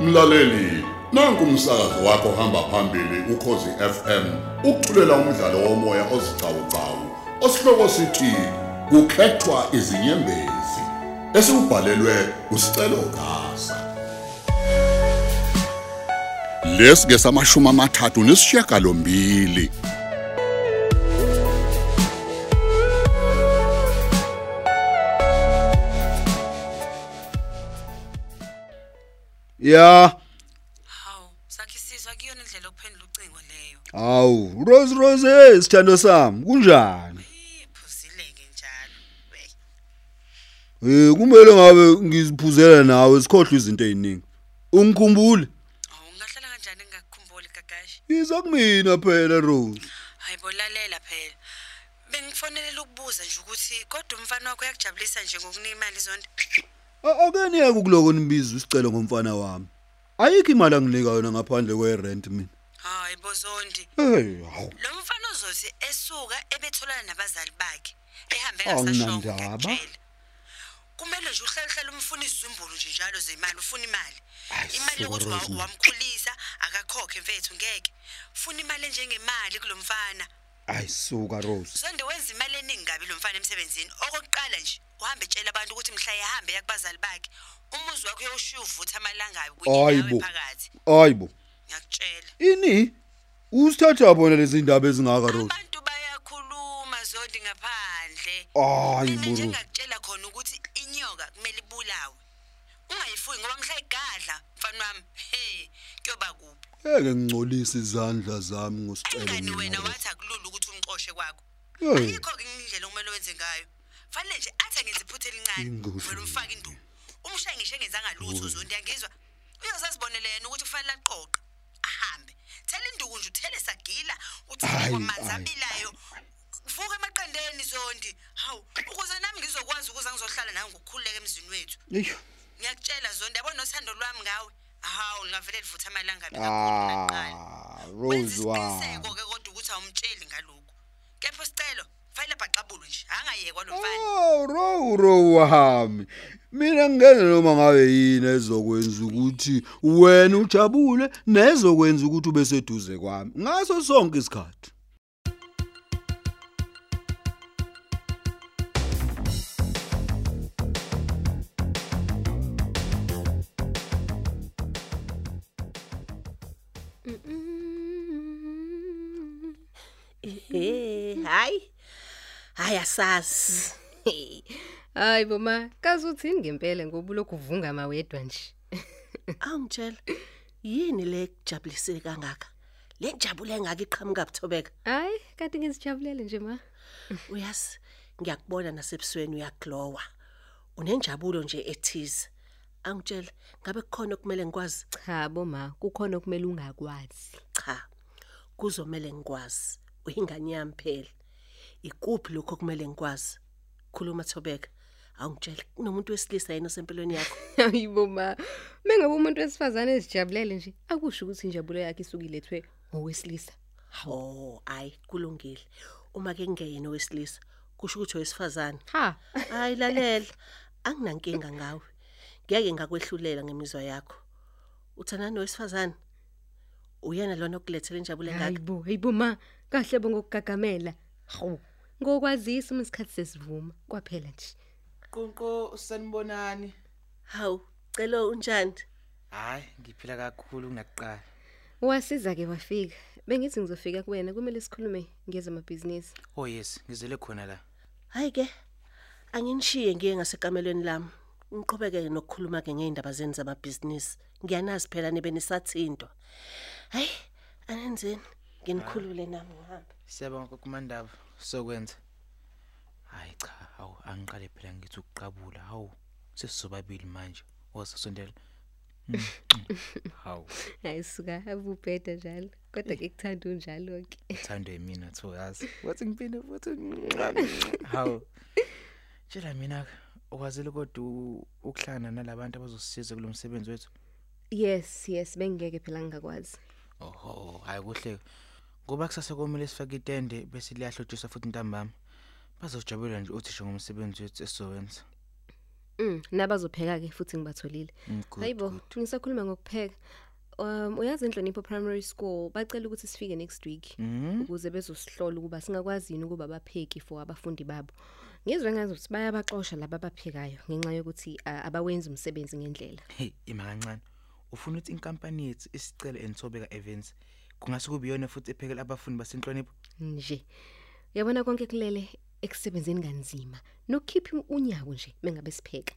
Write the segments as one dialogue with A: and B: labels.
A: mlaleli nanku umsakazo wakho hamba phambili ukhozi FM ukuthulela umdlalo womoya ozicawucawu osihloko sithi kukhethwa izinyembezi esibhalelwe usicelo gaza lesi ke samashuma amathathu nesishiyagalombili
B: ya
C: hawu sakhisizwa kuyona indlela okuphendula ucingo leyo
B: hawu rose rose sithando sami kunjani
C: iphuzile-ke njalo Wey,
B: eh kumele ngabe ngiziphuzela nawe sikhohle izinto eziningi ungikhumbule
C: awu ngingahlala kanjani ngingakukhumbuli gagashi
B: iza kumina phela rose
C: hayi bolalela phela bengifonelela ukubuza nje ukuthi kodwa umfana wakho uyakujabulisa nje ngokunemali zonto
B: A- ake niyeke ukuloko nibiza isicelo ngomfana wami ayikho imali anginika yona ngaphandle kwerent mina
C: hayi bozondi
B: hey hawu
C: lo mfana ozothi esuka ebetholana nabazali bakhe ehambe
B: Awunandaba.
C: ngasashongo ngakutshela kumele nje uhlalehlale umfuna izizumbulu nje njalo zemali ufuna imali imali yokuthi wa-
B: Rosemary.
C: wamkhulisa akakhokhe mfethu ngeke funa imali enjengemali kulo mfana
B: ayisuka rose
C: zonde wenza imali eningi kabi lo mfana emsebenzini okokuqala nje uhambe tshela abantu ukuthi mhla ehambe yakubazali bakhe umuzi wakho uyoshiya uvutha amalangabi
B: Hayibo.
C: phakathi
B: ayibo
C: ngiyakutshela
B: ini usithatha bona lezi ndaba ezingaka rose
C: abantu bayakhuluma zondi ngaphandle mina
B: ayibo
C: nje
B: rose
C: ngakutshela khona ukuthi inyoka kumele ibulawe ungayifuyi ngoba mhla igadla mfana wami he kuyoba kuphi
B: eke ngingcolisa izandla zami ngosicelo
C: ingani wena
B: mina Rose.
C: wathi akulula ukuthi umqoshe kwako
B: Hey.
C: ayikho-ke indlela okumele wenze ngayo fanele nje athi angenza iphutha elincane
B: Ingozi.
C: vele umfake induku umshaye ngisho engenzanga lutho zonto yangizwa uyozazibonele yena ukuthi kufanele aqoqe ahambe thela induku nje uthele sagila
B: Ayi,
C: uthekwamanzi
B: ayi,
C: abilayo vuka emaqendeni zondi hawu ukuze nami ngizokwazi ukuze ngizohlala nawe ngokukhululeka emzini wethu
B: Eish.
C: ngiyakutshela zondi yabona uthando lwami ngawe hawu ngingavele livutha amalanga mina kakhulu kunaqala.
B: Ah, Rose wami.
C: ke kodwa ukuthi awumtsheli ngalokhu kepha sicelo fanele bhaqabulwe nje angayekwa lo mfana
B: Oh, row row wami. Mina ngingena noma ngabe yini ezokwenza ukuthi wena ujabule nezokwenza ukuthi ube seduze kwami. Ngaso sonke isikhathi.
D: Eh, hayi. Hayi asazi.
E: hayi boma kazi uthini ngempela ngoba ulokhu uvunga amawedwa nje
D: Awungitshela. Yini le kujabulisile kangaka? Le njabule engaka iqhamuka buthobeka.
E: hayi kati ngizijabulele nje ma
D: Uyazi, ngiyakubona nasebusweni uyaglowa. Unenjabulo nje ethize. Angitshela, ngabe kukhona okumele ngikwazi?
E: cha boma kukhona okumele ungakwazi
D: Cha. Kuzomela ngikwazi. Uyingane yami phela. Ikuphi lokho kumele ngikwazi? Khuluma Thobeka. Awungitshela, kunomuntu wesilisa yena osempilweni yakho.
E: hayi boma mengabe umuntu wesifazane ezijabulele nje akusho ukuthi injabulo yakhe isuke ilethwe ngowesilisa
D: Oh, ayi kulungile. Uma ke ngeyena owesilisa, kusho ukuthi owesifazane.
E: ha
D: Hayi lalela. Anginankinga ngawe. Ngeke ngakwehlulela ngemizwa yakho. Uthana nowesifazane. Uyena lona okulethele injabulo engaka.
E: hayibo hayibo ma kahle bo ngokugagamela hawu ngokwazisa uma isikhathi sesivuma kwaphela nje
F: Qonqo sanibonani.
D: Hawu, celo unjani?
F: Hayi, ngiphila kakhulu kunakuqala.
E: wasiza-ke wafika bengithi ngizofika kuwena kumele sikhulume ngezamabhizinisi
F: Oh yes, ngizele khona la.
D: Hayi ke. Anginishiye ngiye ngasekamelweni lami. Ngiqhubeke nokukhuluma ke ngeindaba zeni zamabhizinisi. Ngiyanazi phela nebenisathindwa. Hayi, anenzeni. Nginikhulule nami ngihambe.
F: Siyabonga kumandaba sokwenza. Hayi cha, hawu angiqale phela ngithi ukuqabula. Hawu, sesizobabili manje. Oh, Wazasondela. Mm, mm. Hawu,
E: hayi suka abubheda njalo kodwa ke kuthanda unjalo-ke
F: uthandwe mina tho yazi. Wathi ngiphinde futhi. Hawu. Tshela mina ukwazile kodwa u- ukuhlangana nalabantu abazosisiza kulomsebenzi wethu.
E: yes yes bengingeke phela ngingakwazi
F: Oho, hayi kuhle. Ngoba kusasa komele sifake itende bese liyahlotshiswa futhi ntambama. Bazojabula nje uthisha ngomsebenzi wethu esizowenza.
E: Mm, nabazopheka ke futhi ngibatholile.
F: Mm, good,
E: Hayibo, ngisakhuluma ngokupheka. Um uyazi inhlonipho primary school bacela ukuthi sifike next week
F: Mhm.
E: ukuze bezosihlola ukuba singakwazi yini ukuba bapheki for abafundi babo. Ngizwe ngazi bayabaxosha laba baphekayo ngenxa yokuthi ah, abawenzi umsebenzi ngendlela.
F: hey ima kancane ufuna ukuthi inkampani yethu isicele enthobeka events kungase kube yona futhi ephekela abafundi basenhlonipho
E: nje uyabona konke kulele ekusebenzeni kanzima nokukhipha unyawo nje mengabe sipheka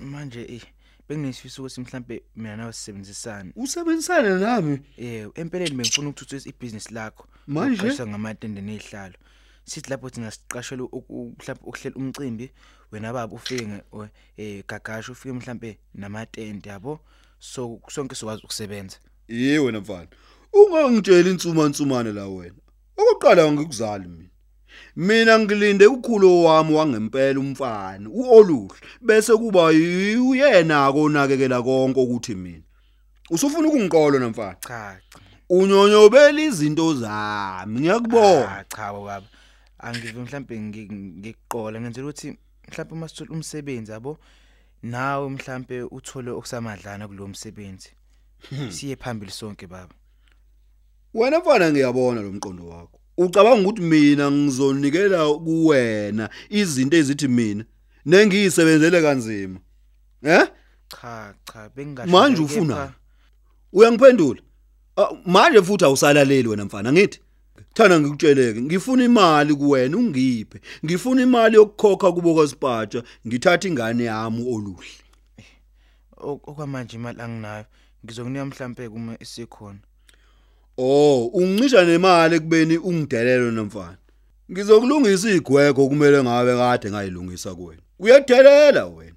F: manje eh bengisifiso ukuthi mhlambe mina nawe sisebenzisane
B: Usebenzisana nami.
F: yebo empeleni bengifuna ukuthuthukisa ibusiness lakho
B: Manje?
F: Ngokuqashisa ngamatende nezihlalo sithi lapho thina siqashele mhlambe ukuhlela umcimbi wena baba ufike nge- o- eh gagasho ufike mhlambe namatende yabo so sonke sikwazi ukusebenza
B: Yey wena mfana. Ungangitshela insuma insumane la wena. Ukuqala ngikuzali mina. Mina ngilinde ukhulo wami wangempela umfana uOluhle bese kuba uyena akonakekela konke ukuthi mina. Usufuna ukungiqolo namfana.
F: cha cha
B: Unyonyobela izinto zami ngiyakubona.
F: Ah, cha baba angive mhlambe ngi- ngikuqola ngenzela ukuthi mhlambe uma sithola umsebenzi yabo nawe mhlambe uthole okusamadlana kulo msebenzi siye phambili sonke baba
B: Wena mfana ngiyabona lo mqondo wakho. Ucabanga ukuthi mina ngizonikela kuwena izinto ezithi mina nengiyisebenzele kanzima. Eh?
F: cha cha bengingahle
B: Manje
F: kepha-
B: ufunani? Uyangiphendula? Ah, Manje futhi awusalaleli wena mfana ngithi. Thana ngikutsheleke, ngifuna imali kuwena ungiphe. Ngifuna imali yokukhokha kubo kwaSpatsha, ngithatha ingane yami oluhle.
F: Ok- okwamanje imali anginayo ngizokunika mhlambe kuma isikhona
B: Oh, ungicisha nemali kubeni ungidelelo nomfana. Ngizokulungisa igwegwe kumele ngabe kade ngayilungisa kuwena. Uyadelela wena.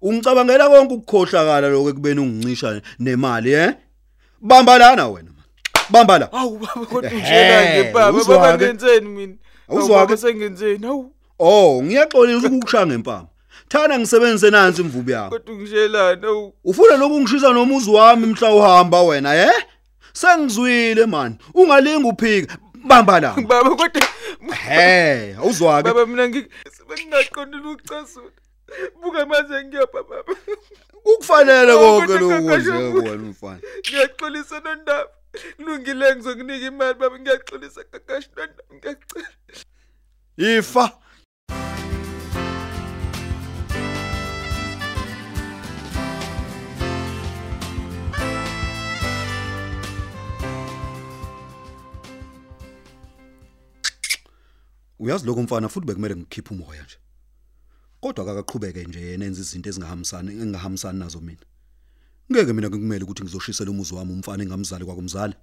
B: Ungicabangela konke ukukhohlakala lokho kubeni ungicisha nemali, eh? Bamba lana wena man. Bamba la.
F: awu baba kodwa
B: ungitshelani-ke, Ehhe, baba, uzwa-ke. baba, ngenzeni
F: mina
B: Awu, Uzwa-ke. baba,
F: sengenzeni awu
B: Oh, ngiyaxolisa ukukushaya ngempama. Thana ngisebenzise nansi imvubu yami.
F: kodwa ungishelani awu
B: Ufuna lokungishisa nomuzi wami mhla uhamba wena, eh? Sengizwile man. Ungalingi uphika. Bamba la.
F: baba kodwa
B: Hey, uzwa ke.
F: mina ngingaqondile ukucasula buka manje ngiyapha baba
B: Ukufanele
F: Oh,
B: konke
F: kodwa
B: lokwenze
F: kakaJobu.
B: kuwena mfana.
F: ngiyaxolisa nondaba kulungile ngizokunika imali baba ngiyaxolisa kakashi nondaba ngiyacela
B: Ifa. Uyazi lokho mfana futhi bekumele ngikhiphe umoya nje. Kodwa akaqhubeke nje yena enza izinto ezingahambisani engingahambisani nazo mina. Ngeke mina ngikumele ukuthi ngizoshisela umuzi wami umfana engamzali kwakumzala.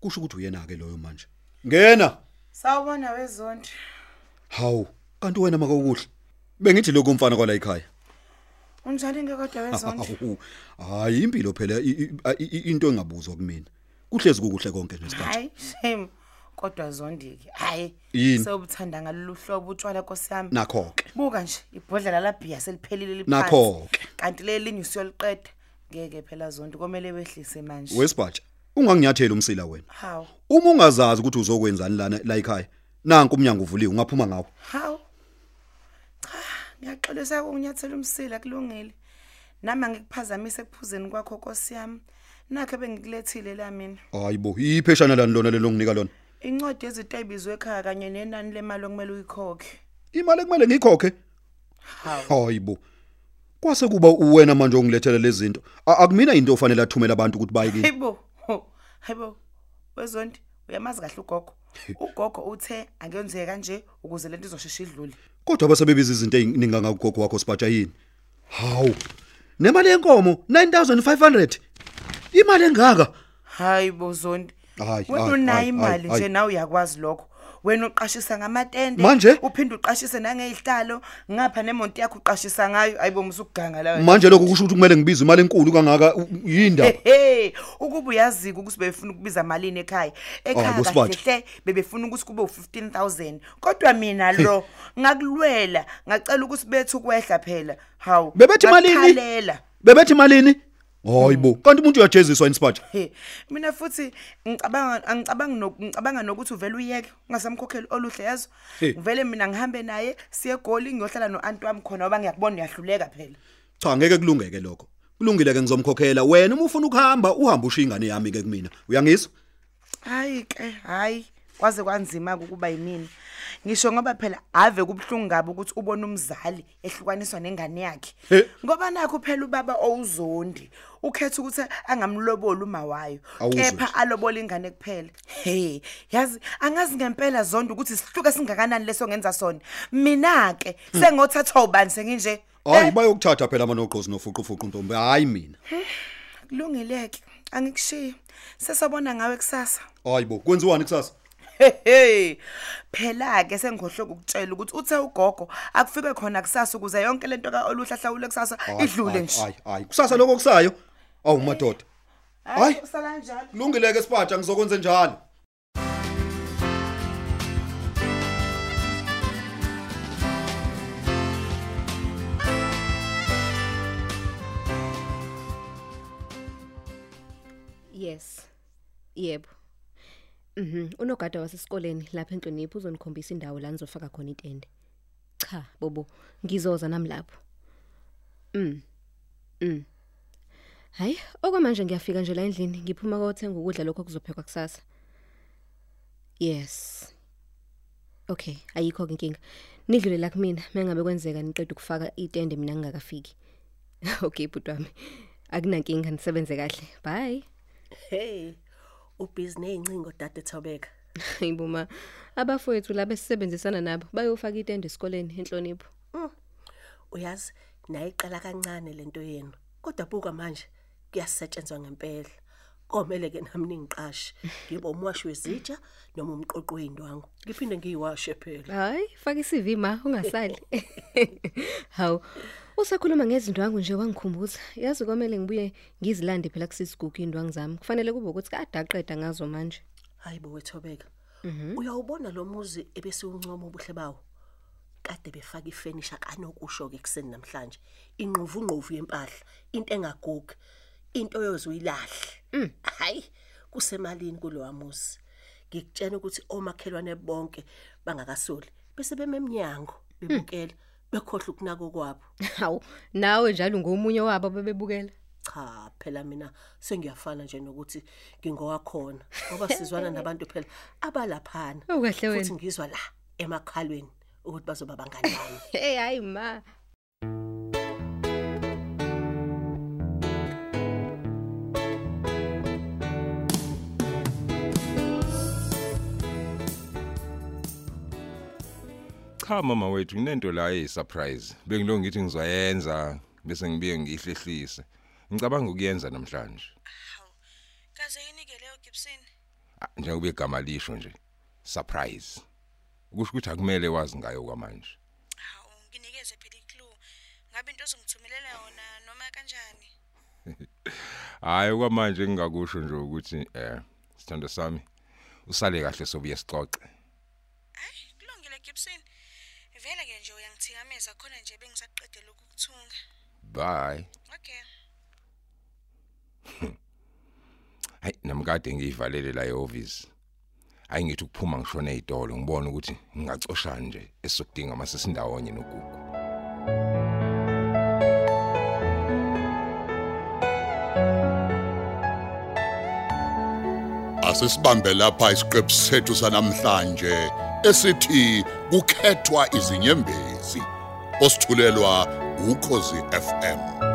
B: Kusho ukuthi uyena ke loyo manje. Ngena.
D: Sawubona wezonto.
B: Hawu, kanti wena maka ukuhle. Bengithi lokho umfana kwala ekhaya.
D: Unjani ngeke kodwa wezonto?
B: Hawu, Hayi impilo phela i- i- i- i- into engabuzwa kumina. Kuhlezi kukuhle konke nje isikhathi.
D: Hayi, shame. Kodwa zondike. Hayi.
B: Yini?
D: Sewubuthanda ngalolu hlobo utshwala Nkosi yami.
B: Nakho ke.
D: Buka nje ibhodla lalabhiya seliphelile liphansi.
B: Nakho-ke.
D: Kanti le linye usiyoliqeda. Ngeke phela zonto komele wehlise manje.
B: Wesibhatsha, unganginyathela umsila wena.
D: Haw.
B: Uma ungazazi ukuthi uzokwenzani lana la ekhaya, nanku umnyango uvuliwe ungaphuma ngawo.
D: Haw. Cha, ngiyaxolisa ukunyathela umsila kulungile. Nama ngikuphazamise ekuphuzeni kwakho Nkosi yami. Nakho bengikulethile la mina.
B: Hayibo, ipheshana lana lona lelo nginika lona.
D: Incwadi ezitayibizwe ekhaya kanye nenani lemali okumele uyikhokhe.
B: Imali ekumele ngikhokhe. Hayibo. Kwase kuba uwena manje ongilethela lezi zinto. A- Akumina into ofanele athumele abantu ukuthi baye kini.
D: hayibo ho, hayibo wezonto uyamazi kahle ugogo ugogo uthe angenzeke kanje ukuze lento izoshesha idlule
B: Kodwa basebebiza izinto eziningi ngakugogo wakho Spatsha yini? Hawu. Nemali yenkomo 9500. Imali engaka?
D: hayibo zonto
B: Hayi,
D: wena
B: hayi,
D: unayo
B: hayi,
D: imali
B: hayi,
D: nje nawe uyakwazi lokho wena uqashisa ngamatende
B: Manje?
D: uphinde uqashise nangezihlalo ngapha nemonti yakho uqashisa ngayo hayibo musukuganga la wena.
B: Manje lokho kusho ukuthi kumele ngibize imali enkulu kangaka yindaba.
D: Ehe, ukuba uyazika ukuthi befuna ukubiza malini
B: Hayi,
D: ekhaya. Ekhaya
B: bo Sibanda.
D: kahle bebefuna ukuthi kube u15000. Kodwa mina lo
G: ngakulwela ngacela ukuthi bethu kwehla phela hawu
B: Bebethi malini?
G: ngakukhalela.
B: bebethi malini hayibo kanti umuntu uyajeziswa insipatha
G: He, mina futhi ngicabanga angicabangi nok- ngicabanga nokuthi uvele uyeke ungasemkhokheli oluhle yazo
B: He.
G: ngivele mina ngihambe naye siye egoli ngiyohlala no-anti wami khona ngoba ngiyakubona uyahluleka phela
B: cha ngeke kulungeke lokho kulungile ke ngizomkhokhela wena uma ufuna ukuhamba uhamba ushiya ingane yami ke kumina uyangizwa
G: hayi ke hayi kwaze kwanzima-ke ukuba yimina ngisho ngoba phela ave kubuhlungu kabi ukuthi ubone umzali ehlukaniswa nengane yakhe
B: He.
G: ngoba nakho phela ubaba owuzondi ukhetha ukuthi angamloboli uma wayo
B: Awuzwe
G: kepha
B: nje.
G: alobole ingane kuphela he yazi angazi ngempela zonda ukuthi sihluke singakanani leso ngenza sona mina-ke sengothathwa ubani senginje
B: hayi bayokuthatha phela amanoqozi nofuqufuqu ntombi hayi mina
G: kulungileke angikushiye sesabona ngawe kusasa
B: hayibo kwenziwani kusasa
G: Hehe. Phela ke sengikhohlwe ukutshela ukuthi uthe ugogo akufike khona kusasa ukuze yonke lento kaoluhla hlawule kusasa
B: Hayi,
G: idlule
B: hayi,
G: nje. Eh.
B: hayi hayi kusasa lokho kusayo awu madoda hayi
G: kusala kanjalo.
B: kulungile ke siphatha ngizokwenza njalo
E: Yes. Yebo. Mhm, unogada wasesikoleni lapha enhlonipho uzonikhombisa indawo la nizofaka khona itende. Cha, bobo, ngizoza nami lapho. Mm. Mm. Hayi, okwamanje ngiyafika nje la endlini, ngiphuma kothenga ukudla lokho kuzophekwa kusasa. Yes. Okay, ayikho ke inkinga. Nidlule la kumina, mengabe kwenzeka niqeda ukufaka itende mina ngingakafiki. Okay, bhuti wami. Akunankinga nisebenze kahle. Bye.
D: hey ubhizi ney'ncingo dade thobeka
E: Ayibuma abafowethu laba sisebenzisana nabo bayofaka itende esikoleni inhlonipho.
D: Mm. uyazi naye iqala kancane lento yenu kodwa buka manje kuyasetshenzwa ngempela komele ke nami ningiqashe ngibe umwashi wezitsha noma umqoqo wey'ndwangu ngiphinde ngiyiwashe phela
E: Hayi faka iCV ma ungasali. Haw usakhuluma ngezindwangu nje wangikhumbuza. Yazi komele ngibuye ngizilande phela kusisigugu indwangu zami. Kufanele kube ukuthi kadaqeda ngazo manje.
D: hayi bo wethobeka uyawubona lo muzi ebesiwuncoma ubuhle bawo kade befaka ifenisha kanokusho-ke ekuseni namhlanje ingqovungqovu yempahla into engagugi into yoze uyilahle hhayi kusemalini kulowa muzi ngikutshena ukuthi omakhelwane bonke bangakasoli bese bema emnyango bebukela bekhohlwa ukunako kwabo
E: Haw nawe njalo ngomunye wabo bebebukela.
D: cha phela mina sengiyafana nje nokuthi ngingowakhona ngoba sizwana nabantu phela abalaphana
E: Ukahle wena.
D: futhi ngizwa la emakhalweni ukuthi bazoba bangani bami
E: Hey hayi ma.
H: cha mama wethu kunento la eyisurprise bengilo ngithi ngizoyenza bese ngibiye ngihlehlise ngicabanga ukuyenza namhlanje
C: hawu kaze yini-ke leyo gibson
H: Ah, njengoba igama lisho nje surprise kusho ukuthi akumele wazi ngayo kwamanje
C: hawu nginikeze phela iclue ngabe into ozongithumelela yona noma kanjani
H: hhayi okwamanje ngingakusho nje ukuthi um sithando sami usale kahle sobuye sixoxe
C: hayi kulungile gibson vele-ke nje uyangithikameza khona nje bengisaqede lokhu kuthunga
H: bye
C: okay
H: hayi namkade ngiyivalele la ehhovisi hayi ngithi ukuphuma ngishone ey'tolo ngibone ukuthi ngingacoshani nje esizokudinga masesindawonye nogugu
A: Asisibambe lapha isiqephu sethu sanamhlanje esithi kukhethwa izinyembezi osithulelwa ukhozi FM.